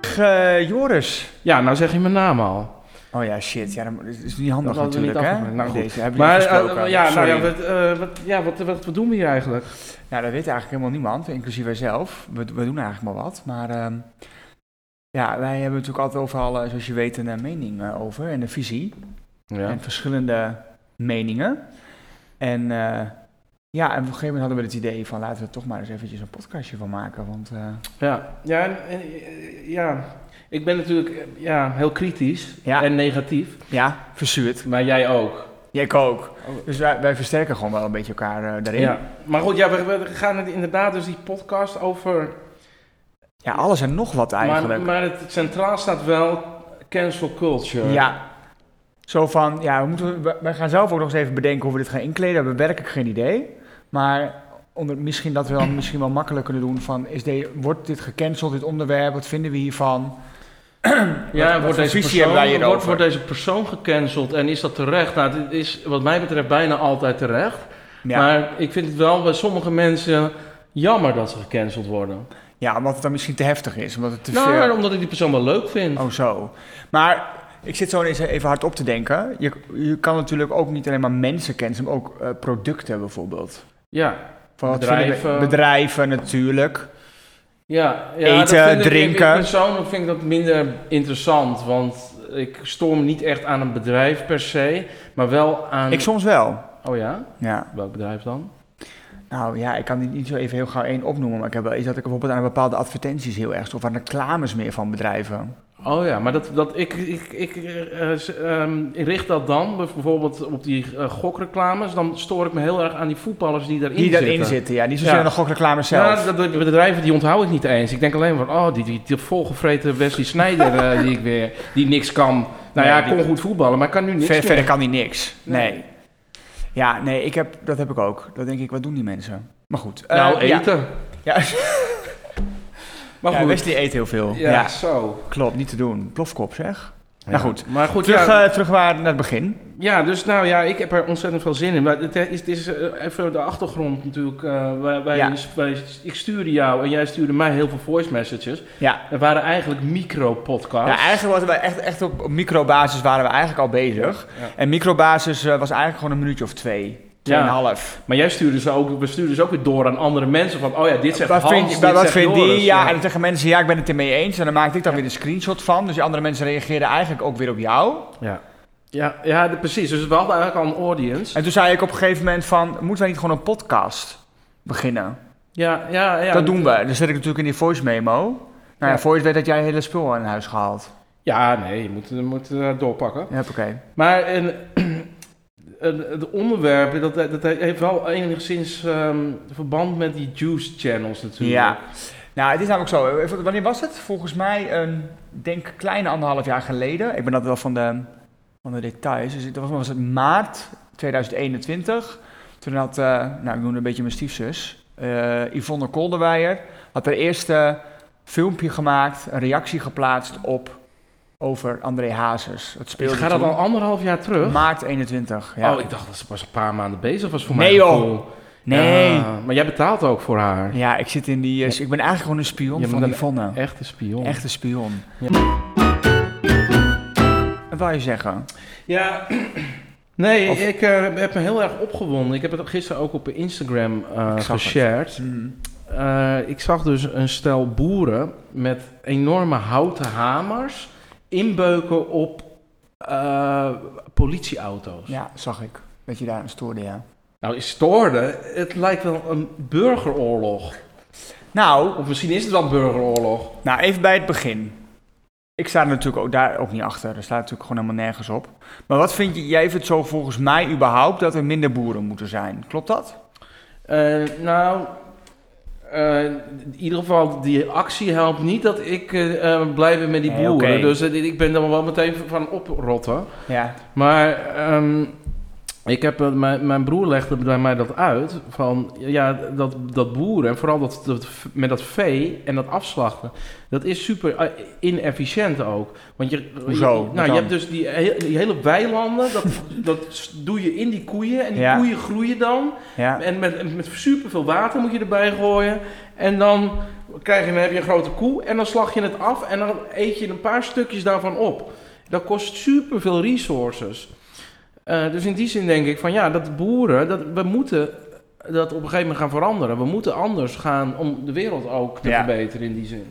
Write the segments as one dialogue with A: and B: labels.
A: Zeg, eh, Joris.
B: Ja, nou zeg je mijn naam al.
A: Oh ja, shit. Ja, dat is niet handig
B: Dat hadden we
A: natuurlijk,
B: niet
A: hè?
B: afgemaakt. Nou, goed.
A: Deze hebben
B: Maar
A: jullie
B: eh,
A: gesproken.
B: ja, nou,
A: Sorry.
B: ja, wat, eh, wat, ja wat, wat, wat doen we hier eigenlijk?
A: Nou, dat weet eigenlijk helemaal niemand, inclusief wij zelf. We, we doen eigenlijk maar wat. Maar ehm, ja, wij hebben natuurlijk altijd overal, eh, zoals je weet, een eh, mening eh, over en een visie.
B: Ja.
A: En verschillende meningen. En eh, ja, en op een gegeven moment hadden we het idee van laten we er toch maar eens eventjes een podcastje van maken. Want eh,
B: Ja, ja, en- en, eh, ja. ik ben natuurlijk eh, ja, heel kritisch
A: Ja.
B: en negatief,
A: ja, verzuurd.
B: maar jij ook.
A: Ja, ik ook. Dus wij, wij versterken gewoon wel een beetje elkaar eh, daarin.
B: Ja.
A: Ja.
B: Maar goed, ja, we, we gaan het inderdaad dus die podcast over...
A: alles en nog wat eigenlijk.
B: Maar, maar het centraal staat wel cancel culture.
A: Ja. Zo van, ja, we moeten, we- wij gaan zelf ook nog eens even bedenken hoe we dit gaan inkleden. We hebben werkelijk geen idee. Maar onder, misschien dat we dan misschien wel makkelijk kunnen doen van, is de, wordt dit gecanceld, dit onderwerp? Wat vinden we hiervan?
B: Ja,
A: Wat- wat
B: wordt,
A: voor
B: deze
A: visie hebben wij
B: persoon, wordt,
A: hierover?
B: wordt deze persoon gecanceld en is dat terecht? Nou, het is wat mij betreft bijna altijd terecht.
A: Ja,
B: Maar ik vind het wel bij sommige mensen jammer dat ze gecanceld worden.
A: ja, omdat het dan misschien te heftig is, omdat het te
B: nou,
A: veel...
B: omdat ik die persoon wel leuk vind.
A: Oh, zo. Maar ik zit zo eens even hard op te denken. Je, je kan natuurlijk ook niet alleen maar mensen cancelen, maar ook eh, producten bijvoorbeeld.
B: Ja,
A: Van wat vinden we-
B: Bedrijven.
A: bedrijven natuurlijk.
B: ja, ja
A: Eten,
B: dat vind ik-
A: drinken.
B: Ik, ik persoonlijk vind ik dat minder interessant, want ik stoor me niet echt aan een bedrijf per se, maar wel aan...
A: Ik soms wel.
B: Oh ja?
A: Ja.
B: Welk bedrijf dan?
A: Nou ja, ik kan die niet zo even heel gauw één opnoemen. Maar ik heb wel iets dat ik bijvoorbeeld aan bepaalde advertenties heel erg... of aan reclames meer van bedrijven.
B: Oh ja, maar dat, dat, ik, ik, ik eh, eh, s- ehm, ik richt dat dan bijvoorbeeld op die eh, gokreclames. Dan stoor ik me heel erg aan die voetballers die daarin
A: Die
B: zitten.
A: daarin zitten, ja. Niet zozeer
B: Ja.
A: aan de gokreclames zelf.
B: Ja, dat- dat- de bedrijven die onthoud ik niet eens. Ik denk alleen van, oh, die, die, die volgevreten Wesley Sneijder eh, die ik weer, die niks kan. Nou ja,
A: Nee,
B: ik
A: die-
B: kon goed voetballen, maar ik kan nu niks
A: Ver-
B: meer.
A: verder kan die niks. Nee.
B: Nee.
A: Ja, nee, ik heb, dat heb ik ook. Dat denk ik, wat doen die mensen? Maar goed. eh,
B: Nou,
A: ja.
B: eten.
A: Ja.
B: Maar
A: Ja,
B: goed.
A: Wesley eet heel veel. Ja.
B: ja, zo.
A: klopt. Niet te doen. Plofkop, zeg.
B: Ja.
A: goed.
B: Maar goed,
A: Terug,
B: ja,
A: eh, terug waar, naar het begin.
B: ja, dus nou ja, ik heb er ontzettend veel zin in. Maar het is, het is eh, even de achtergrond natuurlijk. eh, wij, wij-
A: Ja.
B: wij- ik stuurde jou en jij stuurde mij heel veel voice messages.
A: Ja.
B: Er waren eigenlijk micro-podcasts.
A: Ja, eigenlijk waren we echt, echt op, op microbasis waren we eigenlijk al bezig.
B: Ja.
A: En microbasis eh, was eigenlijk gewoon een minuutje of twee. Tweeënhalf.
B: Maar jij stuurde ze ook, we stuurden ze ook weer door aan andere mensen. Van, oh ja, dit zegt
A: Wat
B: Hans,
A: vind, je-
B: dit
A: wat
B: zegt
A: vind
B: Joris.
A: die? dus Ja, en tegen mensen, ja, ik ben het ermee eens. En dan maakte ik daar weer een screenshot van. Dus die andere mensen reageerden eigenlijk ook weer op jou.
B: Ja. Ja, ja de- precies. Dus we hadden eigenlijk al een audience.
A: En toen zei ik op een gegeven moment van, moeten wij niet gewoon een podcast beginnen?
B: Ja, ja, ja.
A: dat doen we. Dus zet ik natuurlijk in die voice memo. Nou ja,
B: Ja.
A: voor je het weet dat jij je hele spul aan huis gehaald.
B: Ja, nee, je moet, je moet eh, doorpakken.
A: Ja, oké.
B: Maar en, en het onderwerp, dat, dat heeft wel enigszins ehm, verband met die juice channels natuurlijk.
A: Ja. Nou, het is namelijk zo. Even- Wanneer was het? Volgens mij een, denk kleine anderhalf jaar geleden. Ik ben dat wel van de, van de details. Dus het was, was het maart 2021. Toen had, eh, nou ik noemde een beetje mijn stiefzus, eh, Yvonne Kolderweijer, had haar eerste filmpje gemaakt, een reactie geplaatst op over André Hazes. Het
B: Ik
A: speelde
B: ga dat
A: toen
B: al anderhalf jaar terug.
A: maart 21. Ja.
B: Oh, ik dacht dat ze pas een paar maanden bezig was voor
A: Nee,
B: mij.
A: joh. nee.
B: Ja, maar jij betaalt ook voor haar.
A: Ja, ik zit in die, eh, ik ben eigenlijk gewoon een spion
B: Je
A: van
B: moet een-
A: Yvonne.
B: Echte spion.
A: Echte spion.
B: Ja.
A: Wat wou je zeggen?
B: Ja. Nee,
A: Of-
B: ik eh, heb me heel erg opgewonden. Ik heb het gisteren ook op Instagram eh
A: Ik zag het.
B: geshared.
A: Mm.
B: Eh, ik zag dus een stel boeren met enorme houten hamers inbeuken op eh, politieauto's.
A: Ja, zag ik. Dat je daar aan stoorde, ja.
B: Nou, is stoorde. Het lijkt wel een burgeroorlog.
A: Nou,
B: Of misschien is het wel een burgeroorlog.
A: nou, even bij het begin. Ik sta er natuurlijk ook daar ook niet achter. Er staat natuurlijk gewoon helemaal nergens op. Maar wat vind je, jij vindt zo volgens mij überhaupt dat er minder boeren moeten zijn. Klopt dat?
B: Eh, nou, eh, in ieder geval, die actie helpt niet dat ik eh, eh, blij ben met die
A: Nee,
B: boeren.
A: oké.
B: Dus eh, ik ben er wel meteen van oprotten.
A: Ja.
B: Maar ehm, Ik heb, eh, mijn, mijn broer legde bij mij dat uit. Van ja, dat, dat boeren, en vooral dat, dat, v- met dat vee en dat afslachten, dat is super eh, inefficiënt ook. Want je,
A: Hoezo?
B: je-
A: Wat
B: nou, je
A: dan?
B: hebt dus die, he- die hele weilanden, dat, dat s- doe je in die koeien. En die
A: Ja.
B: koeien groeien dan.
A: Ja.
B: En met, en met superveel water moet je erbij gooien. En dan, krijg je, dan heb je een grote koe en dan slag je het af en dan eet je een paar stukjes daarvan op. Dat kost superveel resources. Eh, dus in die zin denk ik van ja, dat boeren, dat, we moeten dat op een gegeven moment gaan veranderen. We moeten anders gaan om de wereld ook te
A: Ja.
B: verbeteren in die zin.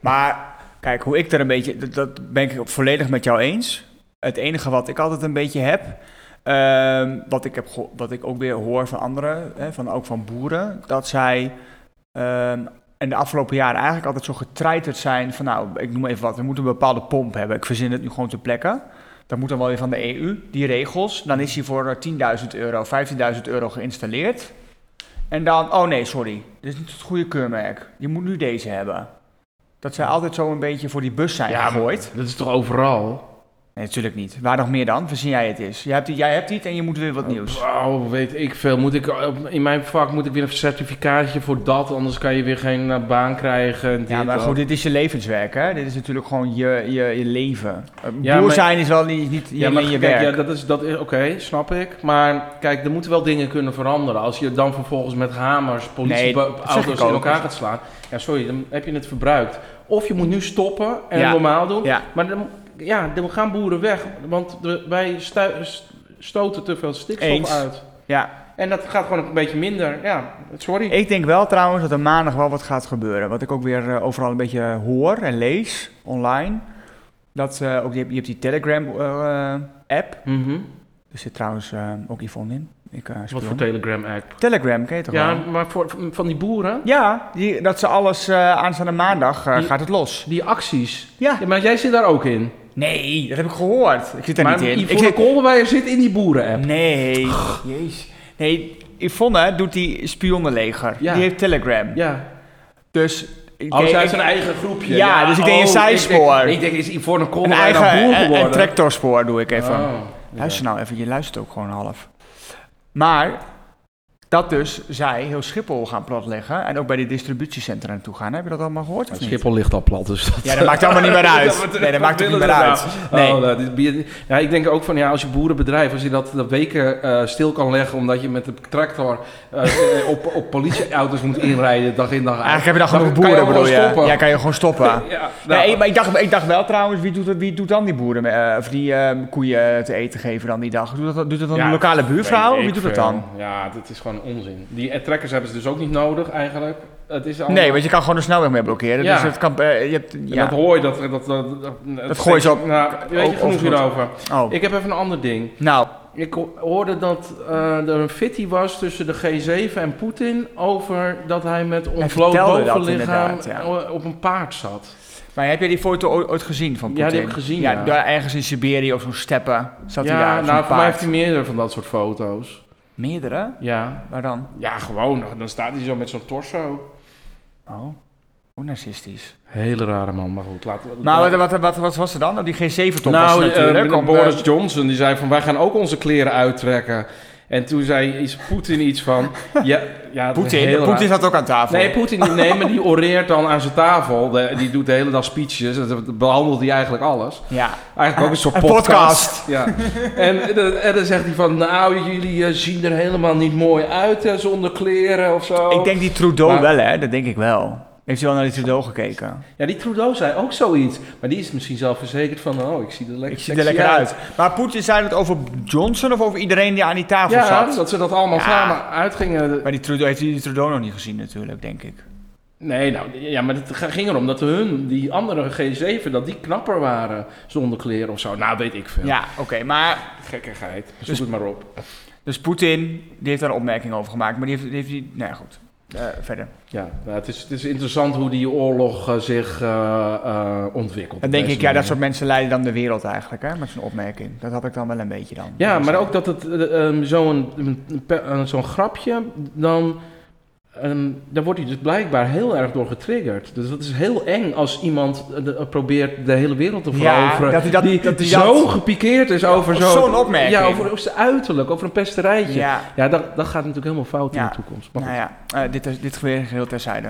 A: Maar kijk, hoe ik er een beetje, dat, dat ben ik volledig met jou eens. Het enige wat ik altijd een beetje heb, ehm, wat, ik heb geho- wat ik ook weer hoor van anderen, hè, van, ook van boeren, dat zij ehm, in de afgelopen jaren eigenlijk altijd zo getreiterd zijn van, nou, ik noem even wat, we moeten een bepaalde pomp hebben. Ik verzin het nu gewoon ter plekke. Dat moet dan wel weer van de EU, die regels. Dan is die voor eh, 10.000 euro, 15.000 euro geïnstalleerd. En dan, oh nee, sorry, dit is niet het goede keurmerk. Je moet nu deze hebben. Dat zij altijd zo een beetje voor die bus zijn gegooid.
B: Dat is toch overal?
A: Nee, natuurlijk niet. Waar nog meer dan? Verzin jij het eens. Jij hebt, jij hebt iets en je moet weer wat nieuws.
B: Oh, weet ik veel. Moet ik, in mijn vak moet ik weer een certificaatje voor dat, anders kan je weer geen eh, baan krijgen. en
A: Ja,
B: dit,
A: maar
B: dat.
A: goed, dit is je levenswerk, hè? Dit is natuurlijk gewoon je, je, je leven. Eh,
B: Ja,
A: Boer
B: maar-
A: zijn is wel niet, niet
B: Ja, maar
A: alleen je
B: kijk,
A: werk.
B: ja, dat is, dat is oké, snap ik. Maar kijk, er moeten wel dingen kunnen veranderen. Als je dan vervolgens met hamers
A: Nee, dat zeg
B: politieauto's
A: ik ook.
B: in elkaar gaat slaan. Ja, sorry, dan heb je het verbruikt. Of je moet nu stoppen en
A: Ja.
B: normaal doen.
A: Ja.
B: Maar dan, ja, dan gaan boeren weg, want de- wij stu- s- stoten te veel stikstof
A: Eens.
B: uit.
A: Ja.
B: En dat gaat gewoon een beetje minder. Ja, sorry.
A: Ik denk wel trouwens dat er maandag wel wat gaat gebeuren. Wat ik ook weer eh, overal een beetje hoor en lees online. Dat eh, ook, je, hebt, je hebt die Telegram-app.
B: Mhm.
A: er zit trouwens eh, ook Yvonne in. Ik, eh, speel
B: Wat voor
A: hem.
B: Telegram-app?
A: Telegram, ken je toch
B: Ja,
A: wel?
B: maar voor, van die boeren,
A: Ja, die, dat ze alles eh, aanstaande maandag eh,
B: Die-
A: gaat het los.
B: die acties.
A: Ja.
B: Ja, maar jij zit daar ook in.
A: Nee, dat heb ik gehoord. Ik zit daar
B: maar
A: niet in. Ik
B: Yvonne
A: zit...
B: Kolderweijer zit Oh, in die boeren-app.
A: Nee, jeez. Nee, Yvonne doet die spionnenleger.
B: Ja.
A: Die heeft Telegram.
B: Ja.
A: Dus... ik-
B: Oh, zij
A: ik-
B: heeft zijn eigen groepje.
A: Ja, dus ik denk een
B: oh,
A: zijspoor.
B: Ik denk, ik denk, is Yvonne
A: een
B: Kolderweijer
A: eigen eh,
B: nou boer
A: een-
B: geworden?
A: een tractorspoor doe ik even.
B: Oh, ja.
A: Luister nou even, je luistert ook gewoon half. Maar dat dus zij heel Schiphol gaan platleggen en ook bij die distributiecentra naartoe gaan. Heb je dat allemaal gehoord of niet?
B: Schiphol ligt al plat, dus dat...
A: Ja, dat maakt allemaal niet meer
B: Ja,
A: uit.
B: wat-
A: Nee, dat
B: wat
A: maakt ook niet meer
B: willen we
A: uit.
B: nou?
A: Nee.
B: Oh, nou, dit bier- ja, ik denk ook van, ja, als je boerenbedrijf, als je dat, dat weken eh, stil kan leggen... omdat je met de tractor eh, op, op politieauto's moet inrijden, dag in dag uit.
A: Eigenlijk heb je dan genoeg
B: kan je
A: boeren,
B: ook wel
A: bedoel je?
B: stoppen.
A: Ja, kan je gewoon stoppen.
B: Ja, nou,
A: Nee, maar ik dacht, ik dacht wel trouwens, wie doet, wie doet dan die boeren, eh, of die eh, koeien te eten geven dan die dag? Doet dat, doet dat dan
B: Ja,
A: de lokale buurvrouw?
B: Weet
A: Wie
B: ik
A: doet dat
B: veel.
A: dan?
B: Ja, dat is gewoon onzin. Die eh, trekkers hebben ze dus ook niet nodig, eigenlijk. Het is allemaal-
A: Nee, want je kan gewoon de snelweg mee blokkeren.
B: Ja.
A: Dus het kan, eh, je hebt,
B: En
A: ja.
B: Dat hooi, dat... Dat, dat, dat,
A: Dat gooi je zo-
B: Nou, weet
A: ook
B: je genoeg
A: overgoed.
B: hierover.
A: Oh.
B: Ik heb even een ander ding.
A: Nou,
B: Ik ho- hoorde dat eh, er een fitty was tussen de G7 en Poetin... over dat hij met ontbloot
A: vertelde dat
B: bovenlichaam
A: inderdaad, ja.
B: o- op een paard zat.
A: maar heb jij die foto ooit, ooit gezien van
B: Ja,
A: Poetin?
B: die heb ik gezien, ja.
A: daar ergens in Siberië of zo'n steppen zat hij daar.
B: ja,
A: op
B: nou,
A: zo'n
B: voor mij
A: paard.
B: heeft hij meerdere van dat soort foto's.
A: Meerdere?
B: Ja,
A: Waar dan?
B: ja gewoon. Dan staat hij zo met zo'n torso.
A: Oh, hoe narcistisch.
B: Hele rare man, maar goed. Laten we...
A: Maar wat, wat, wat, wat was er dan? Oh, Die G7-top was
B: nou,
A: er natuurlijk.
B: eh,
A: op, eh,
B: Boris Johnson die zei van wij gaan ook onze kleren uittrekken. En toen zei is Poetin iets van. Ja, ja, dat is heel
A: Poetin,
B: raar.
A: Poetin zat ook aan tafel.
B: Nee, Poetin niet. Nee, maar die oreert dan aan zijn tafel. De- die doet de hele dag speeches. Dat behandelt hij eigenlijk alles.
A: ja.
B: Eigenlijk ook een soort
A: Een
B: podcast.
A: podcast.
B: Ja. en, dan- en dan zegt hij van, nou, jullie eh, zien er helemaal niet mooi uit hè, zonder kleren of zo.
A: Ik denk die Trudeau
B: Maar-
A: wel, hè? Dat denk ik wel. Heeft u wel naar die Trudeau gekeken?
B: Ja, die Trudeau zei ook zoiets. Maar die is misschien zelf verzekerd van, oh, ik zie er lekker,
A: Ik zie er
B: sexy
A: lekker uit. Maar Poetin zei het over Johnson of over iedereen die aan die tafel
B: Ja,
A: zat?
B: dat ze dat allemaal
A: Ja.
B: samen uitgingen.
A: Maar die Trudeau heeft die Trudeau nog niet gezien natuurlijk, denk ik.
B: Nee, nou, ja, maar het g- ging erom dat hun, die andere G7, dat die knapper waren zonder kleren of zo. Nou, weet ik veel.
A: Ja, oké. maar
B: Gekkigheid. Zoek
A: Dus-
B: het maar op.
A: dus Poetin, die heeft daar een opmerking over gemaakt. Maar die heeft, die... Heeft die nou ja, goed. Eh, verder.
B: Ja, nou, het, is, het is interessant hoe die oorlog eh, zich eh, eh, ontwikkelt.
A: Dan denk
B: Op
A: ik, ja,
B: deze
A: dat
B: manier.
A: soort mensen leiden dan de wereld eigenlijk, hè? Met zo'n opmerking. Dat had ik dan wel een beetje dan. Dus,
B: eh, Ja, maar ook dat het eh, ehm, zo'n een pe- eh, zo'n grapje eh, dan Ehm, daar wordt hij dus blijkbaar heel erg door getriggerd. Dus dat is heel eng als iemand eh, de- probeert de hele wereld te
A: Ja,
B: veroveren.
A: dat hij dat-
B: die
A: dat hij
B: zo
A: dat-
B: gepikeerd is
A: Ja,
B: over
A: over
B: zo'n...
A: zo'n opmerking.
B: Ja, over, over zijn uiterlijk, over een pesterijtje. Ja,
A: Ja,
B: dat, dat gaat natuurlijk helemaal fout in
A: Ja.
B: de toekomst. Maar
A: nou ja, eh, dit, is, dit geweer geheel terzijde.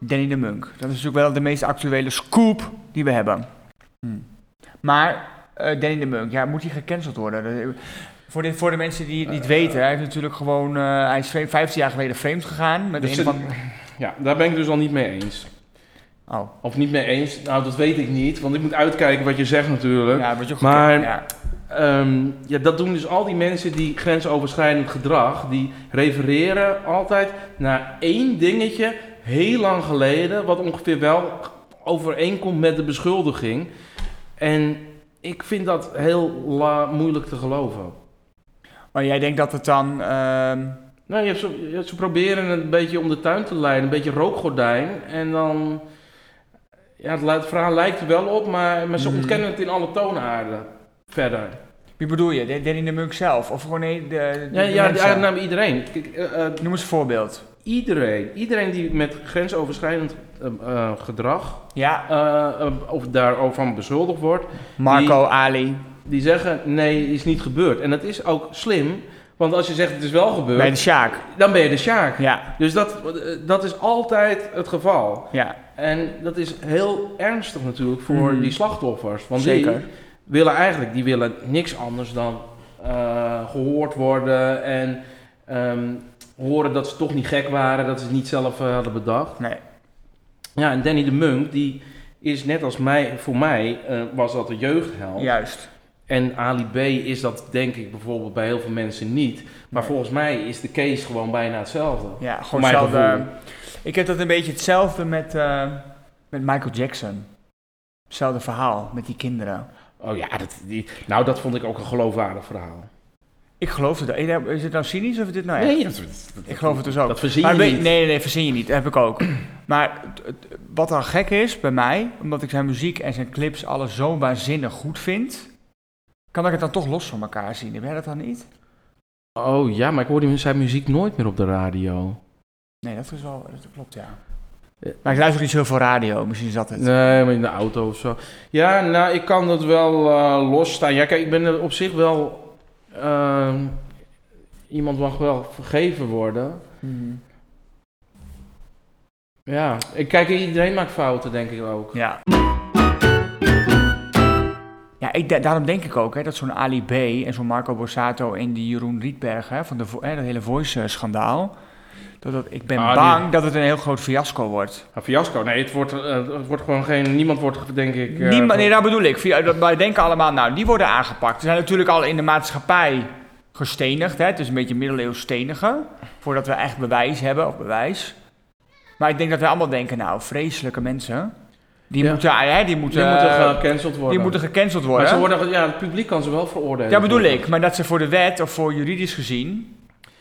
A: Danny de Munk. Dat is natuurlijk wel de meest actuele scoop die we hebben. Hm. Maar eh, Danny de Munk, ja, moet hij gecanceld worden? Dat- voor, dit, voor de mensen die
B: Eh,
A: het niet weten, hij, heeft natuurlijk gewoon, eh, hij is vreemd- 15 jaar geleden vreemd gegaan. Met
B: Dus
A: een
B: het-
A: van...
B: goed. ja, daar ben ik dus al niet mee eens.
A: Oh,
B: Of niet mee eens, nou dat weet ik niet, want ik moet uitkijken wat je zegt natuurlijk.
A: ja, wat je ook
B: Maar-
A: gekend- ja.
B: Ehm, ja, dat doen dus al die mensen die grensoverschrijdend gedrag, die refereren altijd naar één dingetje heel lang geleden, wat ongeveer wel overeenkomt met de beschuldiging. En ik vind dat heel la- moeilijk te geloven.
A: Maar jij denkt dat het dan... ehm,
B: Nou, je hebt zo- je- ze proberen het een beetje om de tuin te leiden, een beetje rookgordijn. En dan, ja, het, li- het verhaal lijkt er wel op, maar, maar ze
A: Mhm.
B: ontkennen het in alle toonaarden verder.
A: wie bedoel je? De- Danny de Munk zelf? Of gewoon nee, de, de-
B: Ja,
A: de
B: ja,
A: mensen?
B: ja nou, iedereen. Kijk, eh, eh,
A: Noem eens een voorbeeld.
B: iedereen, iedereen die met grensoverschrijdend eh, eh, gedrag
A: Ja,
B: eh, eh, of daarover beschuldigd wordt,
A: Marco, Ali.
B: die zeggen nee, is niet gebeurd. En dat is ook slim, want als je zegt het is wel gebeurd,
A: Bij de Sjaak.
B: dan ben je de Sjaak.
A: Ja,
B: Dus dat, eh, dat is altijd het geval.
A: ja.
B: En dat is heel ernstig natuurlijk voor
A: Mhm.
B: die slachtoffers. Want
A: Zeker.
B: die willen eigenlijk die willen niks anders dan eh, gehoord worden en ehm, horen dat ze toch niet gek waren, dat ze het niet zelf eh, hadden bedacht.
A: Nee.
B: Ja, en Danny de Munk, die is net als mij, voor mij eh, was dat de jeugdheld.
A: Juist.
B: En Ali B is dat denk ik bijvoorbeeld bij heel veel mensen niet.
A: Nee.
B: Maar volgens mij is de case gewoon bijna hetzelfde.
A: Ja,
B: Voor
A: gewoon
B: mijn
A: hetzelfde. eh,
B: gevoel.
A: Ik heb dat een beetje hetzelfde met, eh, met Michael Jackson. Hetzelfde verhaal met die kinderen.
B: Oh ja, dat, die, nou dat vond ik ook een geloofwaardig verhaal.
A: Ik geloof het. Is het nou cynisch of is dit nou echt?
B: Nee, dat, dat- dat-
A: Ik geloof het dus ook.
B: dat verzin
A: Maar
B: je
A: weet-
B: niet.
A: Nee, nee, nee, verzin je niet. Dat heb ik ook. Maar het- het- wat dan gek is bij mij, omdat ik zijn muziek en zijn clips alles zo waanzinnig goed vind, kan ik het dan toch los van elkaar zien. Heb jij dat dan niet?
B: Oh ja, maar ik hoorde zijn muziek nooit meer op de radio.
A: Nee, dat is wel, dat klopt ja. Maar ik luister niet zoveel radio, misschien is dat het.
B: Nee, maar in de auto of zo. Ja, nou, ik kan dat wel eh, losstaan. Ja, kijk, ik ben er op zich wel... ehm, iemand mag wel vergeven worden.
A: Mhm.
B: Ja, ik kijk, iedereen maakt fouten, denk ik ook.
A: Ja. Ja, ik, da- daarom denk ik ook hè, dat zo'n Ali B en zo'n Marco Borsato en die Jeroen Rietberg hè, van de, vo- hè, dat hele voice-schandaal. Dat, dat, ik ben
B: Ah, die-
A: bang dat het een heel groot fiasco wordt.
B: Een Nou, fiasco? Nee, het wordt, eh, het wordt gewoon geen... Niemand wordt, denk ik... eh,
A: Niemand, nee, daar bedoel ik. Via- dat- Wij denken allemaal, nou, die worden aangepakt. Ze zijn natuurlijk al in de maatschappij gestenigd. Hè? Het is een beetje middeleeuws stenigen. Voordat we echt bewijs hebben, of bewijs. Maar ik denk dat wij allemaal denken, nou, vreselijke mensen. Die
B: Ja.
A: moeten, hè, die
B: Die
A: moeten,
B: moeten
A: eh,
B: gecanceld worden.
A: die moeten gecanceld worden.
B: Maar ze worden... ge- Ja, het publiek kan ze wel veroordelen.
A: Ja, bedoel ik. Maar dat ze voor de wet of voor juridisch gezien,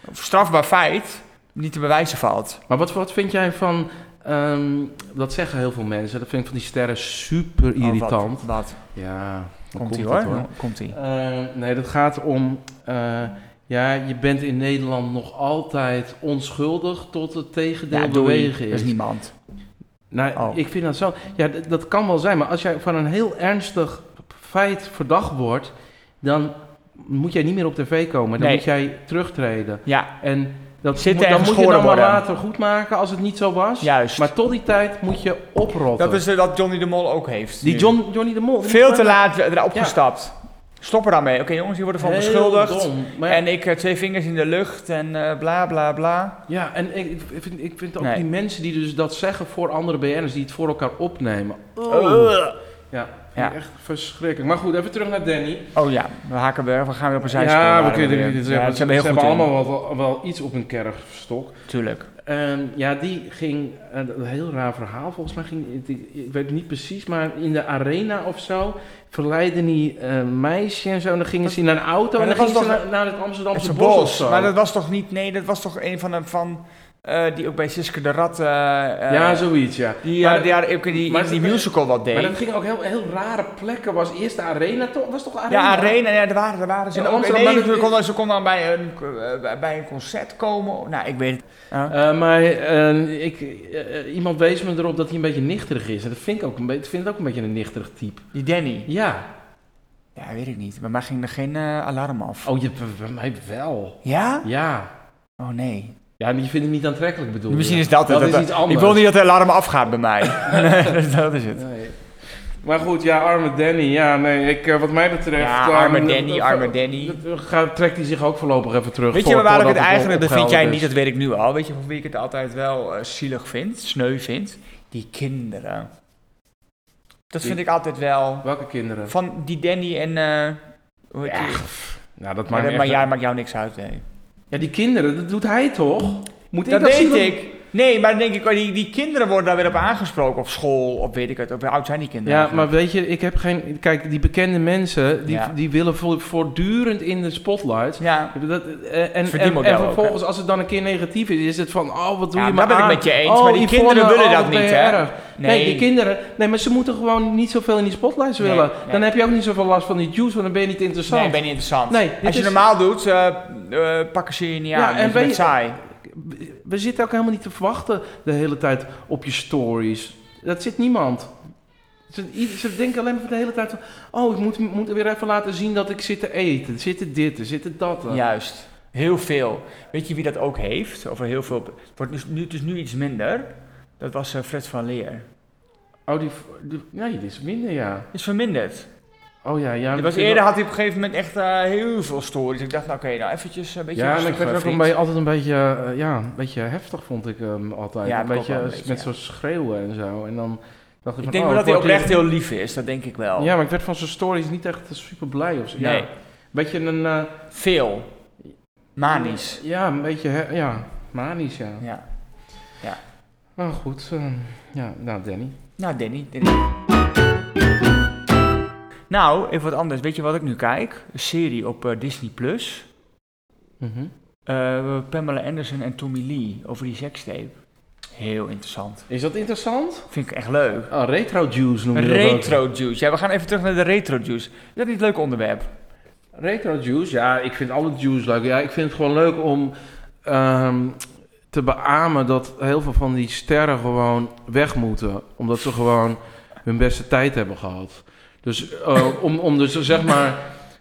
A: of strafbaar feit, niet te bewijzen valt.
B: Maar wat, wat vind jij van... ehm, dat zeggen heel veel mensen. Dat vind ik van die sterren super irritant.
A: Oh, wat? wat?
B: Ja, dan
A: Komt ie
B: het,
A: hoor. Komt ie.
B: Eh, nee, dat gaat om... eh, ja, je bent in Nederland nog altijd onschuldig tot het tegendeel
A: Ja, doei.
B: bewegen
A: Er is niemand.
B: nou,
A: Oh.
B: ik vind dat zo. Ja, d- dat kan wel zijn, maar als jij van een heel ernstig feit verdacht wordt, dan moet jij niet meer op tv komen. Dan
A: Nee.
B: moet jij terugtreden.
A: Ja,
B: En dat
A: Zitten
B: moet,
A: en
B: dan moet je
A: geschoren
B: dan maar
A: worden.
B: later goedmaken als het niet zo was.
A: juist.
B: Maar tot die tijd moet je oprotten.
A: dat is eh, wat Johnny de Mol ook heeft.
B: die
A: nu.
B: John, Johnny de Mol. die
A: Veel
B: is
A: te
B: bijna
A: laat erop
B: Ja.
A: gestapt. Stop er dan mee. Oké jongens, hier worden van
B: heel
A: beschuldigd.
B: dom. Maar
A: En ik eh, twee vingers in de lucht en eh, bla bla bla.
B: Ja, en ik, ik vind, ik vind ook
A: Nee.
B: die mensen die dus dat zeggen voor andere BN'ers, die het voor elkaar opnemen. Oh. Ja, vind
A: Ja.
B: ik echt verschrikkelijk. Maar goed, even terug naar Danny.
A: Oh ja, we haken weer. We gaan weer op een zijspoor.
B: ja, we
A: waren
B: kunnen
A: weer.
B: er niet
A: Ja,
B: zeggen.
A: dat zijn we heel goed in.
B: allemaal wel, wel iets op een kerfstok.
A: Tuurlijk.
B: Ehm, ja, die ging, eh, een heel raar verhaal volgens mij, ging, ik, ik weet het niet precies, maar in de arena of zo verleidde die eh, meisje en zo. En dan gingen ze naar een auto
A: Maar
B: en dan
A: dat
B: gingen ze
A: was
B: naar, naar het Amsterdamse
A: Het
B: bos, of
A: bos.
B: zo.
A: Maar dat was toch niet. Nee, dat was toch een van de. Van, eh, die ook bij Siske de Rat... eh, eh,
B: ja, zoiets, ja.
A: Die, eh,
B: Maar
A: ja,
B: dat-
A: die, haar- ook in die,
B: maar
A: in die
B: dat-
A: musical wat deed.
B: Maar dat ging ook heel, heel rare plekken. Was eerst de arena toch? Was toch de arena?
A: ja, Arena, ja, daar waren, daar waren ze.
B: In
A: ook.
B: Amsterdam,
A: nee,
B: maar dat-
A: ze kon, dan- ze kon dan bij een, eh, bij een concert komen. Nou, ik weet het. Ja.
B: Eh, maar eh, ik, eh, eh, iemand wees me erop dat hij een beetje nichterig is. En dat vind ik ook een, be- ik vind het ook een beetje een nichterig type.
A: Die Danny.
B: Ja.
A: Ja, weet ik niet. Bij mij ging er geen eh, alarm af.
B: Oh, je, bij- bij mij wel.
A: Ja?
B: Ja.
A: Oh nee.
B: Ja, die vind ik niet aantrekkelijk bedoel
A: Misschien
B: je.
A: is dat het.
B: Dat is iets anders.
A: Ik wil niet dat de alarm afgaat bij mij. Nee, dat is het.
B: Nee. Maar goed, ja, arme Danny. Ja, nee, ik, eh, wat mij betreft...
A: Ja,
B: eh,
A: arme
B: dat-
A: Danny,
B: dat-
A: arme Danny.
B: dat- gaat- Trekt hij zich ook voorlopig even terug.
A: Weet je
B: voor-
A: waar ik het
B: voordat
A: eigenlijk, dat vind jij
B: opgehelderd
A: niet,
B: is.
A: dat weet ik nu al. Weet je van wie ik het altijd wel eh, zielig vind, sneu vind? Die kinderen. Dat
B: Die-
A: vind ik altijd wel.
B: Welke kinderen?
A: Van die Danny en. eh, hoe heet die?
B: Ja, pff, nou, dat
A: Maar,
B: maakt
A: dat-
B: echt-
A: maar jij maakt jou niks uit, nee.
B: Ja, die kinderen, dat doet hij toch? Moet ik
A: Dat weet
B: zien?
A: ik. Nee, maar dan denk ik, oh, die, die kinderen worden daar weer op aangesproken. Op school, op weet ik het. Op, hoe oud zijn die kinderen?
B: Ja,
A: eigenlijk?
B: maar weet je, ik heb geen... Kijk, die bekende mensen, die,
A: Ja.
B: die willen vo- voortdurend in de spotlight.
A: Ja.
B: Dat, eh, en, en, en,
A: Verdienmodel ook,
B: vervolgens, als het dan een keer negatief is, is het van... Oh, wat doe
A: Ja,
B: je
A: daar
B: maar
A: ben ik
B: aan?
A: met je eens,
B: Oh,
A: maar die
B: Yvonne,
A: kinderen willen
B: oh,
A: dat
B: wat ben
A: niet,
B: je
A: hè?
B: erg. Nee. die kinderen... Nee, maar ze moeten gewoon niet zoveel in die spotlights
A: Nee,
B: willen.
A: nee.
B: Dan heb je ook niet zoveel last van die juice, want dan ben je niet interessant.
A: Nee, ben je niet interessant.
B: Nee, dit
A: Als je
B: is-
A: normaal doet, eh, eh, pakken ze je niet
B: Ja,
A: aan.
B: en
A: En
B: ben
A: ben
B: je-
A: saai.
B: We zitten ook helemaal niet te verwachten de hele tijd op je stories. Dat zit niemand. Ze, i- ze denken alleen maar de hele tijd van... Oh, ik moet, moet weer even laten zien dat ik zit te eten. Zit te dit, zit te dat.
A: Juist. Heel veel. Weet je wie dat ook heeft? Over heel veel. Het wordt dus nu, het is nu iets minder. Dat was eh, Fred van Leer.
B: Oh, die, die- Nee, dit is minder, ja.
A: Is verminderd.
B: Oh ja, ja.
A: Er was eerder had hij op een gegeven moment echt eh, heel veel stories. Ik dacht, nou, oké, nou eventjes een beetje
B: Ja, en
A: rustig,
B: ik werd
A: eh,
B: er ook een
A: vriend.
B: beetje, altijd een beetje, eh, ja, een beetje heftig, vond ik hem altijd.
A: Ja,
B: een
A: dat
B: beetje,
A: klopt wel een
B: eh,
A: beetje,
B: met
A: ja.
B: zo'n schreeuwen en zo. En dan dacht ik, van,
A: Ik denk
B: oh,
A: wel dat
B: ik
A: hij
B: word
A: oprecht
B: hier-
A: heel lief is. Dat denk ik wel.
B: Ja, maar ik werd van zijn stories niet echt super blij of zo. Ja,
A: Nee.
B: een beetje een... eh,
A: Veel. Manisch.
B: Ja, een beetje, hè, ja, manisch, ja.
A: Ja.
B: Nou goed, eh, ja, nou Danny.
A: Nou, Danny. Danny. Nou, even wat anders. Weet je wat ik nu kijk? Een serie op eh, Disney Plus.
B: Mhm.
A: Eh, Pamela Anderson en Tommy Lee over die sekstape. Heel interessant.
B: Is dat interessant?
A: Vind ik echt leuk.
B: Ah, retro juice noem je dat ook.
A: Retro juice. Ja, we gaan even terug naar de retro juice. Is dat niet een leuk onderwerp?
B: Retro juice, ja, ik vind alle juice leuk. Ja, ik vind het gewoon leuk om ehm, te beamen dat heel veel van die sterren gewoon weg moeten. Omdat ze gewoon hun beste tijd hebben gehad. Dus eh, om, om dus zeg maar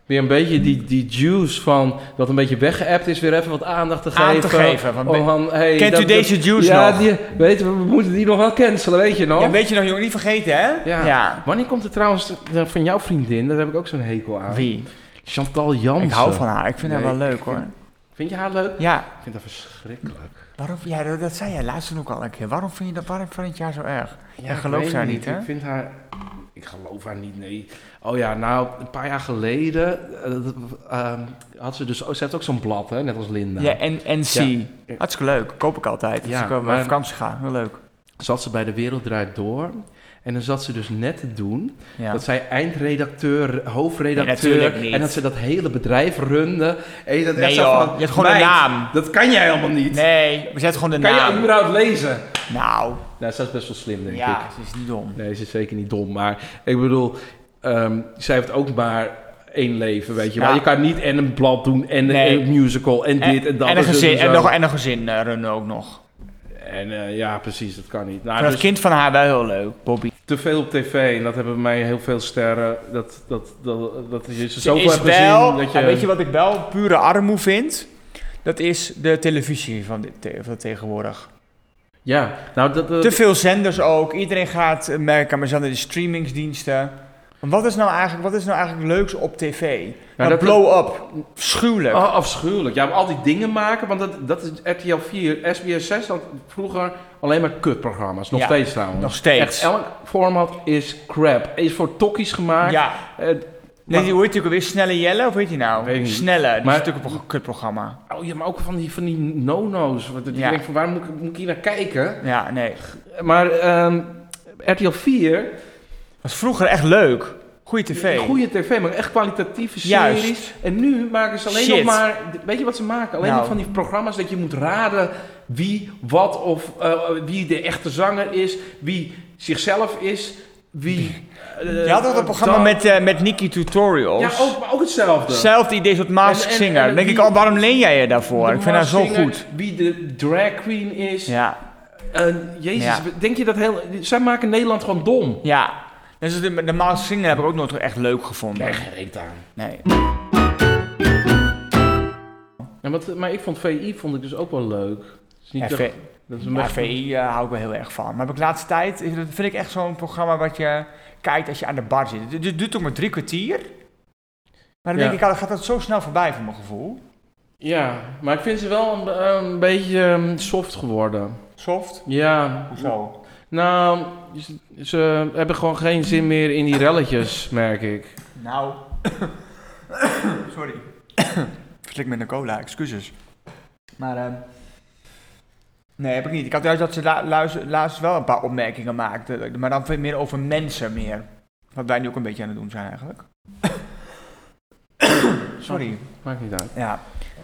B: weer een beetje die, die juice van dat een beetje weggeëpt is, weer even wat aandacht te
A: Aan
B: geven.
A: te geven. Want
B: Om van, hey,
A: Kent
B: dat-
A: u deze juice
B: ja,
A: nog?
B: Die, weet, je, we moeten die nog wel cancelen, weet je nog?
A: Ja, weet je nog, jongen? Niet vergeten, hè?
B: Ja. Wanneer komt er trouwens eh, van jouw vriendin, daar heb ik ook zo'n hekel aan.
A: Wie?
B: Chantal Jansen.
A: Ik hou van haar. Ik vind haar
B: Nee,
A: wel leuk,
B: ik
A: hoor.
B: vind- Vind je haar leuk?
A: Ja.
B: Ik vind haar verschrikkelijk.
A: Waarom, ja, dat, dat zei jij laatst ook al een keer. Waarom vind je dat, waarom vind je haar zo erg?
B: Ja,
A: Jij
B: ik
A: gelooft
B: weet
A: haar niet, hè?
B: Ik vind haar... Ik geloof haar niet, nee. Oh ja, nou, een paar jaar geleden eh, dat- ehm, had ze dus... Oh, ze heeft ook zo'n blad, hè? Net als Linda.
A: Ja, en, en C.
B: Nou. Ja.
A: Hartstikke leuk. Koop ik altijd. Als
B: Ja,
A: ik op
B: maar-
A: mijn vakantie ga. Heel leuk.
B: Zat ze bij De Wereld Draait Door. En dan zat ze dus net te doen
A: Ja.
B: Dat zij eindredacteur, hoofdredacteur.
A: Nee, natuurlijk niet.
B: en dat ze dat hele bedrijf runde. En je dat echt
A: nee,
B: zo
A: joh.
B: van,
A: Je hebt gewoon een
B: meid,
A: naam.
B: Dat kan jij helemaal niet.
A: Nee, we zetten gewoon de
B: kan
A: naam.
B: je überhaupt lezen?
A: Nou,
B: Nou, dat is best wel slim, denk
A: ja,
B: ik.
A: ze is niet dom.
B: Nee, ze is zeker niet dom. Maar ik bedoel, ehm, zij heeft ook maar één leven, weet je.
A: Ja.
B: Maar je kan niet en een blad doen en,
A: Nee.
B: en een musical en dit en, dat. dus
A: en een
B: zo
A: gezin,
B: zo.
A: en, nog, en een gezin eh, runnen ook nog.
B: En, eh, ja, precies, dat kan niet. Nou,
A: Maar dat
B: dus
A: kind van haar wel heel leuk, Bobby.
B: te veel op tv en dat hebben bij mij heel veel sterren. Dat, dat, dat, dat je ze
A: Ze
B: zoveel hebt
A: wel,
B: gezien. Dat
A: en weet je wat ik wel pure armoe vind? Dat is de televisie van, dit, te- van tegenwoordig.
B: Ja, nou dat... dat-
A: Te veel zenders ook. Iedereen gaat eh, merken, maar zijn er de streamingsdiensten. Want wat is nou eigenlijk, wat is nou eigenlijk leuks op tv? Nou,
B: dat-
A: blow-up. Schuwelijk.
B: Ah, afschuwelijk. Ja, maar al die dingen maken, want dat, dat is RTL 4, SBS 6 had vroeger alleen maar kutprogramma's. Nog
A: Ja,
B: steeds trouwens.
A: Nog steeds.
B: Echt, elk format is crap. Is voor tokkies gemaakt.
A: Ja.
B: Eh,
A: Nee,
B: maar,
A: die, hoe heet die ook weer? Snelle Jelle? Of heet die nou?
B: Weet ik niet.
A: Snelle. Die
B: Maar-
A: is natuurlijk een pro- kutprogramma.
B: oh ja, maar ook van die, van die no-no's. Want Ik
A: Ja.
B: denk van, waar moet ik, moet ik hier naar kijken?
A: Ja, nee.
B: Maar ehm, RTL 4,
A: was vroeger echt leuk. Goeie tv.
B: Goede tv, maar echt kwalitatieve
A: Juist.
B: series. En nu maken ze alleen
A: Shit.
B: nog maar. Weet je wat ze maken? Alleen
A: Nou.
B: nog van die programma's dat je moet raden wie wat of eh, wie de echte zanger is, wie zichzelf is, wie. eh,
A: Je had ook
B: eh,
A: een programma
B: dan-
A: met, eh met Nicky Tutorials.
B: Ja, ook, maar ook hetzelfde.
A: Hetzelfde idee soort Mask
B: En- en-
A: Singer.
B: en
A: Dan denk
B: wie-
A: ik al, waarom leen jij je daarvoor?
B: De
A: Ik vind haar zo
B: Masked Singer,
A: goed.
B: Wie de drag queen is.
A: Ja,
B: Eh, jezus,
A: Ja.
B: denk je dat heel. Zij maken Nederland gewoon dom.
A: ja. Dus de, de Mask Singer heb ik ook nooit echt leuk
B: Nee,
A: gevonden.
B: geen reet aan.
A: Nee.
B: Ja, wat, maar ik vond VI vond ik dus ook wel leuk. Het is niet
A: Ja,
B: dat-
A: V-
B: dat is een
A: Ja,
B: beetje-
A: VI eh, hou ik wel heel erg van. Maar heb ik laatste tijd, is- dat vind ik echt zo'n programma wat je kijkt als je aan de bar zit. Het het duurt ook maar drie kwartier. Maar dan
B: Ja.
A: denk ik, ah, dan gaat dat zo snel voorbij voor mijn gevoel.
B: Ja, maar ik vind ze wel een, een beetje ehm, soft geworden.
A: Soft.
B: Ja.
A: Hoezo?
B: Nou, ze, ze hebben gewoon geen zin meer in die relletjes, merk ik.
A: Nou. Sorry. Verslik met een cola, excuses. Maar, ehm, nee, heb ik niet. Ik had juist dat ze la- luiz- laatst wel een paar opmerkingen maakten. Maar dan veel meer over mensen meer. Wat wij nu ook een beetje aan het doen zijn eigenlijk. Sorry.
B: Maakt niet uit.
A: Ja.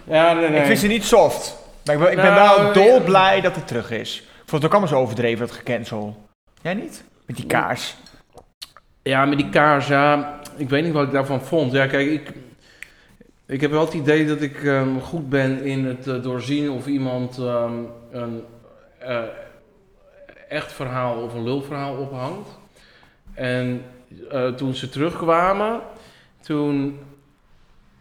B: Ja, nee, nee.
A: Ik vind ze niet soft. Maar ik ben, ik ben
B: Nou,
A: wel dolblij dat het terug is. Ik vond het ook allemaal zo overdreven, dat gecancel. Jij niet? Met die kaars.
B: Ja, met die kaars, ja. Ik weet niet wat ik daarvan vond. Ja, kijk, ik, ik heb wel het idee dat ik ehm, goed ben in het eh, doorzien of iemand ehm, een eh, echt verhaal of een lulverhaal ophangt. En eh, toen ze terugkwamen, toen.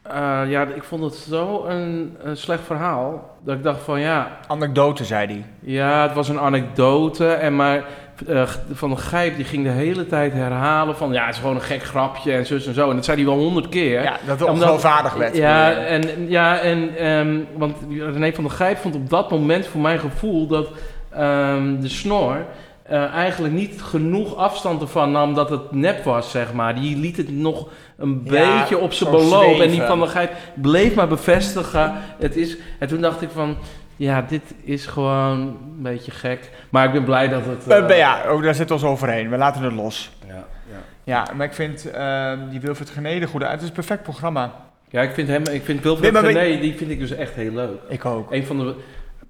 B: eh, ja, ik vond het zo een, een slecht verhaal. Dat ik dacht van ja,
A: Anekdote, zei die.
B: ja, het was een anekdote. En maar eh, Van de Gijp die ging de hele tijd herhalen van... Ja, het is gewoon een gek grapje en zus en zo. En dat zei hij wel honderd keer.
A: Ja, dat het
B: Omdat-
A: ongeloofwaardig werd.
B: Ja, eh, en, ja, en ehm, want René van der Gijp vond op dat moment voor mijn gevoel dat ehm, de snor eh, eigenlijk niet genoeg afstand ervan nam dat het nep was, zeg maar. Die liet het nog een
A: Ja,
B: beetje op zijn
A: zo
B: beloop. En die
A: zweven.
B: van der Gijp bleef maar bevestigen. Het is, en toen dacht ik van, ja, dit is gewoon een beetje gek. Maar ik ben blij dat het... eh,
A: Eh, maar ja, ook daar zit ons overheen. We laten het los.
B: ja, ja.
A: Ja, maar ik vind ehm, die Wilfred Geneden goed uit. Het is een perfect programma.
B: Ja, ik vind hem, ik vind
A: Nee,
B: Wilfred
A: maar weet-
B: Gené, die vind ik dus echt heel leuk.
A: Ik ook.
B: Een van de,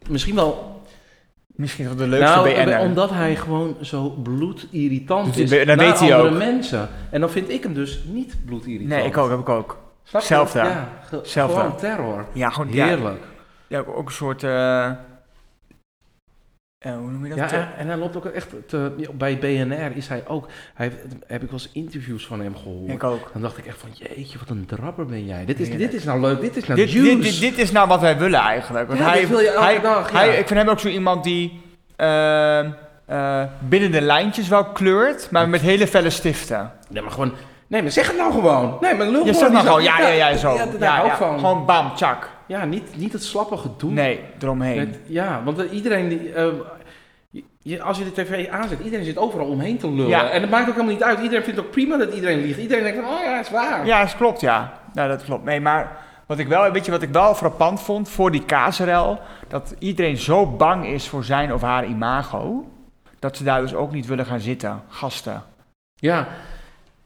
B: misschien wel
A: Misschien wel de leukste
B: nou,
A: BN'er.
B: omdat hij gewoon zo bloedirritant
A: Dus
B: is
A: die- dat
B: naar
A: weet hij
B: andere
A: ook.
B: mensen. En dan vind ik hem dus niet bloedirritant.
A: Nee, ik ook, heb ik ook.
B: Snap je?
A: Zelfde.
B: Ja, ge-
A: Zelfde.
B: gewoon terror.
A: Ja, gewoon ja,
B: Heerlijk.
A: ja, ook een soort... eh eh, hoe noem je dat?
B: Ja,
A: Eh,
B: en, en hij loopt ook echt... te- ja, bij BNR is hij ook... Hij, heeft- heb ik wel eens interviews van hem gehoord.
A: ik ook.
B: Dan dacht ik echt van, jeetje, wat een drabber ben jij. Dit is,
A: Heerlijk.
B: dit is nou leuk, dit is nou
A: Dit,
B: juice.
A: dit, dit, dit is nou wat wij willen eigenlijk. Want
B: Ja,
A: hij,
B: dit wil je elke
A: hij,
B: dag, ja.
A: hij- ik vind hem ook zo iemand die ehm, eh, binnen de lijntjes wel kleurt, maar met hele felle stiften.
B: Nee, maar gewoon... Nee, maar zeg het nou gewoon. Nee, maar lul
A: Je zegt
B: gewoon.
A: maar
B: die
A: gewoon,
B: zo-
A: ja, ja, ja, zo.
B: Ja, daar hou ik van.
A: Gewoon bam, tjak.
B: Ja, niet, niet het slappe gedoe.
A: Nee, eromheen.
B: Met- ja, want eh, iedereen die. eh, je- je- als je de tv aanzet, iedereen zit overal omheen te lullen.
A: Ja.
B: En het maakt ook helemaal niet uit. Iedereen vindt het ook prima dat iedereen liegt. Iedereen denkt van, oh ja, is waar.
A: Ja, dat klopt, ja. Nou, dat klopt. Nee, maar wat ik wel, weet je, wat ik wel frappant vond voor die KSRL, dat iedereen zo bang is voor zijn of haar imago, dat ze daar dus ook niet willen gaan zitten, gasten.
B: Ja,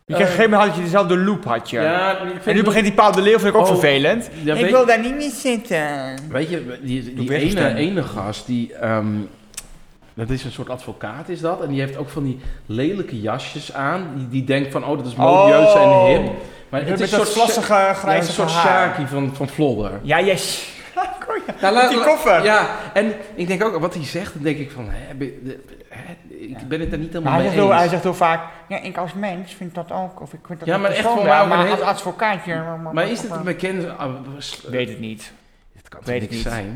A: Je kreeg op een gegeven moment had je dezelfde loop, had je.
B: Eh. ja, ik
A: En
B: vind-
A: nu begint die Paul de Leeuw, vind ik ook
B: Oh,
A: vervelend.
B: ja,
A: ik
B: weet-
A: wil daar niet meer zitten.
B: Weet je, die,
A: Doe
B: die
A: weg,
B: ene,
A: stem.
B: ene gast die. ehm, dat is een soort advocaat, is dat. En die heeft ook van die lelijke jasjes aan. Die, die denkt van, oh, dat is modieus en
A: Oh.
B: hip. Maar
A: Met
B: het
A: dat
B: is een soort
A: vlassige,
B: ja, een
A: grijze
B: soort
A: haar.
B: Shaki van, van Vlodder.
A: Ja, yes. Kom je-
B: Nou,
A: Met
B: laat-
A: die
B: la-
A: koffer.
B: Ja, en ik denk ook, wat hij zegt, dan denk ik van, hè, be- de- hè,
A: Ja.
B: ik ben het daar niet
A: Maar
B: helemaal
A: Nou, hij,
B: mee
A: zegt heel, hij
B: eens.
A: zegt heel vaak, ja, ik als mens vind dat ook, of ik vind dat
B: Ja,
A: ook
B: maar echt
A: persoonlijk,
B: voor mij ook
A: maar
B: een
A: als
B: heel-
A: advocaatje...
B: Maar is dit een bekende... ah, we- s-
A: Weet het niet.
B: Het kan
A: Weet
B: toch
A: ik
B: niks
A: niet.
B: zijn?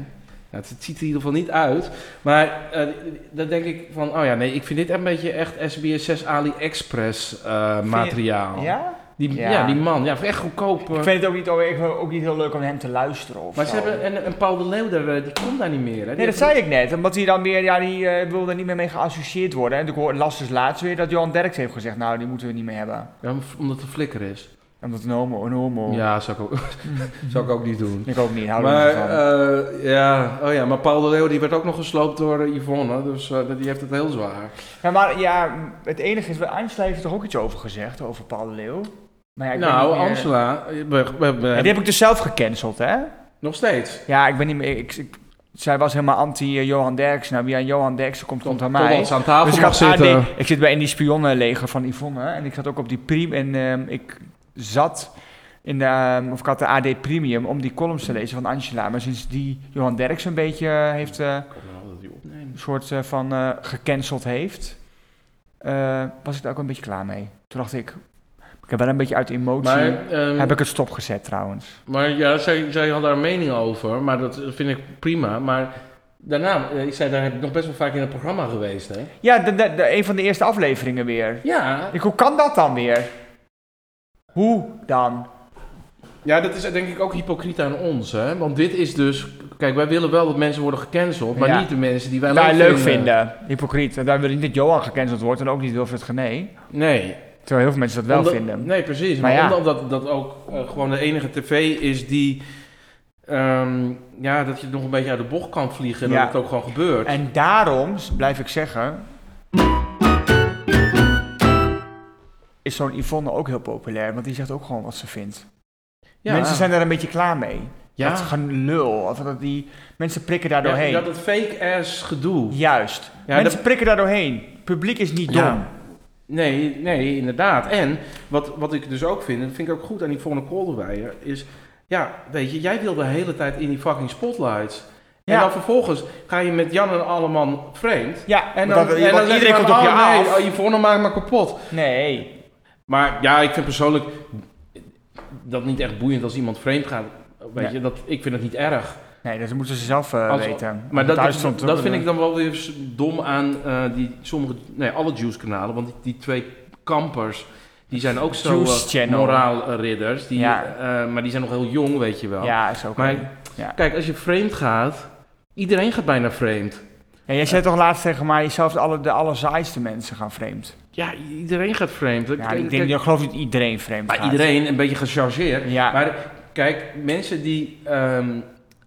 B: Nou, het, het ziet er in ieder geval niet uit. Maar eh, dan denk ik van, oh ja, nee, ik vind dit een beetje echt SBS6 AliExpress eh,
A: je-
B: materiaal.
A: Ja?
B: Die, ja.
A: Ja.
B: die man, ja, echt goedkoop. eh.
A: Ik vind het ook niet, oh, ik vind het ook niet heel leuk om hem te luisteren of
B: maar ze
A: zo.
B: hebben, en, en Paul de Leeuw, daar, eh, die komt daar niet meer. Hè? Die
A: Nee, dat
B: heeft-
A: zei ik net. Omdat hij dan meer, ja, die eh, wil er niet meer mee geassocieerd worden. En ik hoor- las dus laatst weer dat Johan Derks heeft gezegd, nou, die moeten we niet meer hebben.
B: Ja, omdat het een flikker is.
A: Omdat een homo een homo...
B: Ja, zou ik ook, zou ik ook niet doen.
A: Ik ook niet, hou er
B: Maar,
A: niet van.
B: eh, ja. Oh, ja, maar Paul de Leeuw die werd ook nog gesloopt door eh, Yvonne, dus eh, die heeft het heel zwaar.
A: ja, maar ja, het enige is, wel- Angela heeft er toch ook iets over gezegd, over Paul de Leeuw. Maar ja, ik ben
B: nou,
A: niet meer-
B: Angela, we, we- we-
A: Ja, die heb ik dus zelf gecanceld, hè?
B: nog steeds.
A: Ja, ik ben niet meer... Ik, ik- zij was helemaal anti-Johan Derksen. Nou, wie aan Johan Derksen komt, komt aan mij.
B: Totdat ze aan tafel
A: Dus ik,
B: mag
A: had AD,
B: zitten.
A: ik zit bij in die spionnenleger van Yvonne. En ik zat ook op die prim. En ehm, ik zat in de, ehm, of ik had de AD Premium om die columns te lezen van Angela. Maar sinds die Johan Derks een beetje eh, heeft, eh, een soort eh, van eh, gecanceld heeft, eh, was ik daar ook een beetje klaar mee. Toen dacht ik, ik heb wel een beetje uit emotie,
B: Maar, ehm,
A: heb ik het stopgezet trouwens.
B: maar ja, zij, zij had daar een mening over, maar dat vind ik prima. Maar daarna, eh, ik zei, daar heb ik nog best wel vaak in het programma geweest, hè?
A: Ja, de, de, de- een van de eerste afleveringen weer.
B: Ja,
A: Ik, hoe kan dat dan weer? Hoe dan?
B: Ja, dat is denk ik ook hypocriet aan ons, hè? Want dit is dus... Kijk, wij willen wel dat mensen worden gecanceld, maar
A: Ja.
B: niet de mensen die wij,
A: Wij leuk vinden. Hypocriet. En Daar wil ik niet dat Johan gecanceld wordt en ook niet Wilfred Gené.
B: Nee.
A: Terwijl heel veel mensen dat wel
B: Omdat-
A: vinden.
B: Nee, precies.
A: Maar
B: Maar,
A: ja.
B: omdat dat, dat ook eh, gewoon de enige tv is die... ehm, ja, dat je nog een beetje uit de bocht kan vliegen en
A: Ja.
B: dat het ook gewoon gebeurt.
A: En daarom s- blijf ik zeggen... Is zo'n Yvonne ook heel populair, want die zegt ook gewoon wat ze vindt.
B: ja.
A: Mensen zijn daar een beetje klaar mee.
B: ja.
A: Dat gelul. Of dat die, mensen prikken daar
B: Ja,
A: doorheen.
B: dat, dat fake-ass gedoe.
A: Juist.
B: Ja,
A: mensen prikken daar doorheen. Het publiek is niet dom.
B: Ja. Nee, nee, inderdaad. En wat, wat ik dus ook vind, en dat vind ik ook goed aan die Yvonne Kolderweijer, is... Ja, weet je, jij wil de hele tijd in die fucking spotlights.
A: Ja.
B: En dan vervolgens ga je met Jan en Alleman vreemd.
A: Ja,
B: En
A: want,
B: dan,
A: dat-
B: en dan
A: want
B: zeg
A: iedereen
B: maar,
A: komt op je
B: oh, nee,
A: af.
B: oh, Yvonne maakt me kapot. oh,
A: Nee.
B: Maar ja, ik vind persoonlijk dat niet echt boeiend als iemand vreemd gaat. Weet
A: Nee.
B: je, dat, ik vind het niet erg.
A: Nee, dat moeten ze zelf eh,
B: Als-
A: weten.
B: Maar dat,
A: Thuis
B: dat,
A: stond-
B: dat vind ik dan wel weer s- dom aan eh, die sommige, nee, alle Juice-kanalen. Want die, die twee kampers, die zijn ook zo
A: Juice
B: eh,
A: Channel.
B: moraal-ridders. die,
A: Ja.
B: eh, maar die zijn nog heel jong, weet je wel.
A: Ja, is ook
B: Maar-
A: een- ja.
B: Kijk, als je vreemd gaat, iedereen gaat bijna vreemd.
A: Ja, jij zei toch laatst tegen mij, zelfs alle, de allerzaaiste mensen gaan vreemd.
B: Ja, iedereen gaat vreemd.
A: Ja,
B: Kijk,
A: ik, denk,
B: kijk,
A: ik geloof niet iedereen vreemd
B: bij
A: gaat.
B: iedereen een beetje gechargeerd.
A: Ja,
B: Maar kijk, mensen die... ehm,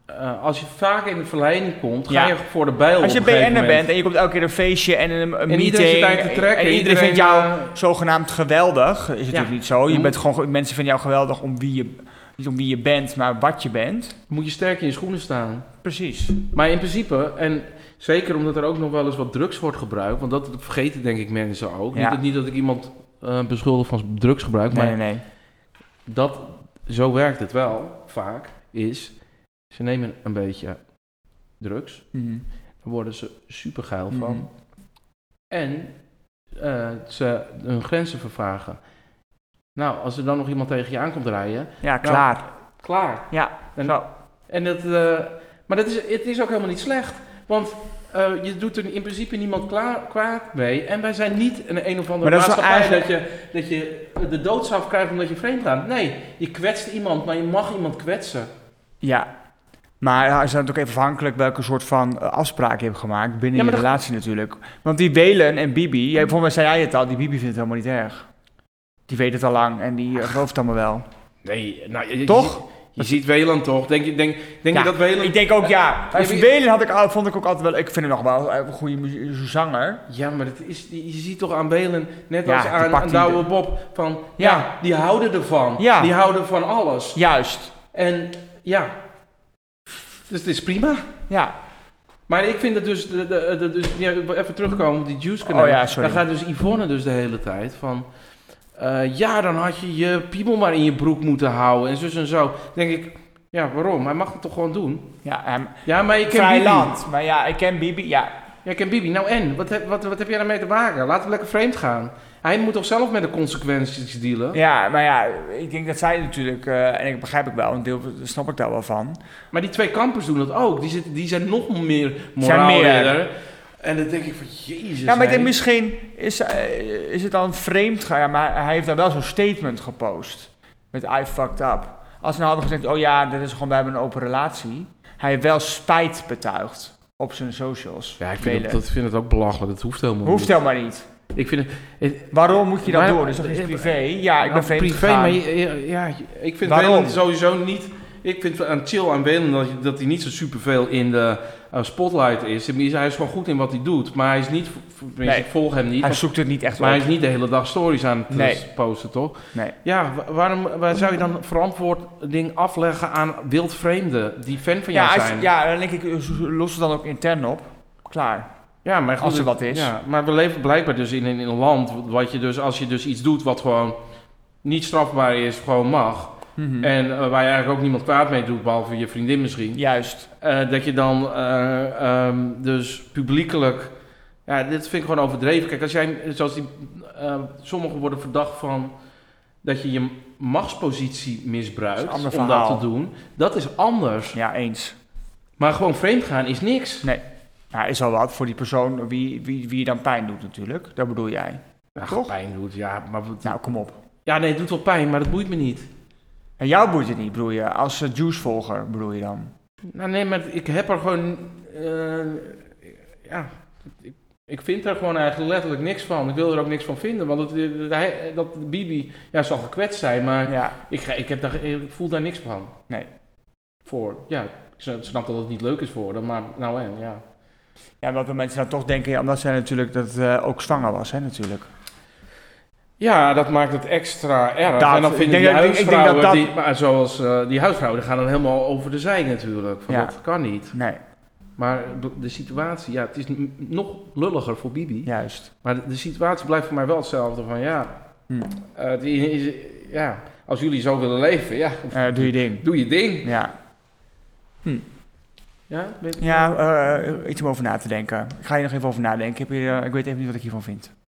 B: eh, als je vaak in de verleiding komt, ga
A: Ja.
B: je voor de bijl
A: als je
B: op een gegeven
A: BN'er
B: moment.
A: bent en je komt elke keer een feestje en een, een
B: En
A: meeting...
B: iedereen zit aan je te trekken.
A: en iedereen, vindt jou
B: eh,
A: zogenaamd geweldig. Is het natuurlijk niet zo. Je
B: Mm.
A: bent gewoon, ge- mensen vinden jou geweldig om wie je... Niet om wie je bent, maar wat je bent.
B: moet je sterk in je schoenen staan.
A: Precies.
B: Maar in principe, en zeker omdat er ook nog wel eens wat drugs wordt gebruikt, want dat vergeten denk ik mensen ook.
A: Ja.
B: Niet, dat, niet dat ik iemand eh, beschuldig van drugsgebruik,
A: Nee,
B: maar
A: nee, nee.
B: dat, zo werkt het wel vaak, is ze nemen een beetje drugs,
A: Mhm.
B: daar worden ze super geil Mm-hmm. van.
A: Mhm.
B: En eh, ze hun grenzen vervagen. Nou, als er dan nog iemand tegen je aankomt rijden,
A: Ja, klaar.
B: klaar.
A: Ja,
B: Nou, En-
A: zo.
B: En dat, eh, maar dat is, het is ook helemaal niet slecht. Want eh, je doet er in principe niemand klaar, kwaad mee. En wij zijn niet een een of andere
A: Maar dat is wel
B: maatschappij
A: eigenlijk-
B: dat, je, dat je de doodstraf krijgt omdat je vreemd gaat. Nee, je kwetst iemand, maar je mag iemand kwetsen.
A: Ja. Maar is dat ook even afhankelijk welke soort van eh, afspraak je hebt gemaakt binnen
B: Ja,
A: je
B: maar dat-
A: relatie natuurlijk. Want die Welen en Bibi, jij, volgens mij zei jij het al, die Bibi vindt het helemaal niet erg. Die weet het al lang en die eh, gelooft het allemaal wel.
B: Nee, nou, je, je
A: Toch?
B: ziet- Je, ziet Weland toch? Denk, je- denk, denk
A: Ja,
B: je dat Weland...
A: Ik denk ook ja.
B: Ja,
A: Bij
B: wie-
A: Welen had ik, al- vond ik ook altijd wel, ik vind hem nog wel een goede mu- zanger.
B: Ja, maar dat is, je ziet toch aan Welen, net
A: Ja,
B: als
A: die
B: aan,
A: pakt
B: aan
A: die-
B: Douwe Bob, van
A: Ja.
B: ja. die houden ervan.
A: Ja.
B: Die houden van alles.
A: Juist.
B: En ja, dus het is prima.
A: Ja.
B: Maar ik vind het dus, de, de, de- dus ja, even terugkomen op die juice kanaal.
A: Oh ja, sorry.
B: Dan gaat dus Yvonne dus de hele tijd van, eh, ja dan had je je piemel maar in je broek moeten houden en zus en zo. Dan denk ik, ja waarom? Hij mag het toch gewoon doen?
A: Ja, ehm,
B: Ja, maar ik ken
A: vrij
B: Bibi.
A: land. Maar ja, ik ken Bibi. Ja,
B: Ja, ik ken Bibi. Nou en? Wat, heb- wat, wat heb jij daarmee te maken? Laat hem lekker vreemd gaan. Hij moet toch zelf met de consequenties dealen?
A: ja, maar ja, ik denk dat zij natuurlijk, eh, en ik begrijp ik wel, een deel snap ik daar wel van.
B: Maar die twee kampers doen dat ook. Die, zitten, die zijn nog meer
A: Zijn
B: moraalridder. En dan denk ik van, jezus.
A: Ja, maar ik
B: hè.
A: denk misschien is, eh, is het dan vreemd gaan. Ja, maar hij heeft dan wel zo'n statement gepost. Met I fucked up. Als ze nou hadden gezegd, oh ja, dit is gewoon, we hebben een open relatie. Hij heeft wel spijt betuigd op zijn socials.
B: Ja, ik
A: Velen.
B: vind, dat, dat- vind het ook belachelijk. Dat hoeft helemaal
A: Hoeft
B: niet.
A: helemaal niet.
B: Ik vind het, het-
A: Waarom moet je dat
B: Maar-
A: doen? Is toch iets privé? Ja, ik ben
B: nou,
A: vreemd
B: privé,
A: gegaan.
B: maar je- je- ja, je- ik vind
A: Waarom?
B: Welen sowieso niet. Ik vind het aan chill aan Welen dat, je- dat hij niet zo superveel in de eh, spotlight is. Hij is- hij is gewoon goed in wat hij doet, maar hij is niet.
A: Nee.
B: Nee. Ik volg hem niet.
A: Hij
B: want-
A: zoekt het niet echt
B: maar hij
A: op.
B: is niet de hele dag stories aan het
A: Nee.
B: eh, posten, toch?
A: Nee.
B: Ja, wa- waarom waar zou je dan verantwoording afleggen aan wildvreemden die fan van jou
A: Ja, als-
B: zijn? Ja,
A: ja, dan denk ik, eh, los het dan ook intern op. Klaar.
B: maar goed,
A: Als er
B: het-
A: wat is.
B: Ja, maar we leven blijkbaar dus in, in een land wat je dus, als je dus iets doet wat gewoon niet strafbaar is, gewoon mag.
A: Mhm.
B: En eh, waar je eigenlijk ook niemand kwaad mee doet, behalve je vriendin misschien.
A: Juist.
B: Eh, dat je dan eh, ehm, dus publiekelijk. Ja, dit vind ik gewoon overdreven. Kijk, als jij, zoals die, eh, sommigen worden verdacht van dat je je machtspositie
A: Dat is een
B: misbruikt
A: ander
B: om dat
A: verhaal.
B: te doen. Dat is anders.
A: Ja, eens.
B: Maar gewoon vreemd gaan is niks.
A: Ja, is al wat voor die persoon wie, wie, wie dan pijn doet natuurlijk. Dat bedoel jij.
B: Ja,
A: Toch?
B: pijn doet, ja. Maar wat-
A: Nou, kom op.
B: ja, nee, het doet wel pijn, maar dat boeit me niet.
A: En jou boeit het niet, bedoel je? Als eh, juicevolger bedoel je dan?
B: Nou, nee, maar ik heb er gewoon. eh, ja. Ik, ik vind er gewoon eigenlijk letterlijk niks van. Ik wil er ook niks van vinden. Want het, eh, hij- dat Bibi. Ja, zal gekwetst zijn, maar
A: Ja.
B: ik, ga- ik, heb daar, ik voel daar niks van.
A: Nee.
B: Voor. Ja, ik sna- snap dat het niet leuk is voor hem, maar nou en ja.
A: Ja, wat de mensen dan toch denken, ja, omdat zij natuurlijk dat het eh, ook zwanger was, hè, natuurlijk.
B: Ja, dat maakt het extra erg.
A: Dat-
B: en dan
A: ik
B: vinden
A: denk
B: die
A: dat- ik denk- ik denk dat
B: huisvrouwen,
A: dat-
B: die, maar zoals eh, die huisvrouwen, die gaan dan helemaal over de zij natuurlijk. Van,
A: Ja.
B: Dat kan niet.
A: Nee,
B: Maar de, de situatie, ja, het is n- nog lulliger voor Bibi.
A: juist.
B: Maar de, de situatie blijft voor mij wel hetzelfde. Van ja,
A: Hm.
B: eh, die is, ja, als jullie zo willen leven, ja,
A: Eh, doe je ding.
B: doe je ding.
A: Ja,
B: Ja, weet-
A: ja eh, iets om over na te denken. Ik ga hier nog even over nadenken. Ik, heb hier, eh, ik weet even niet wat ik hiervan vind.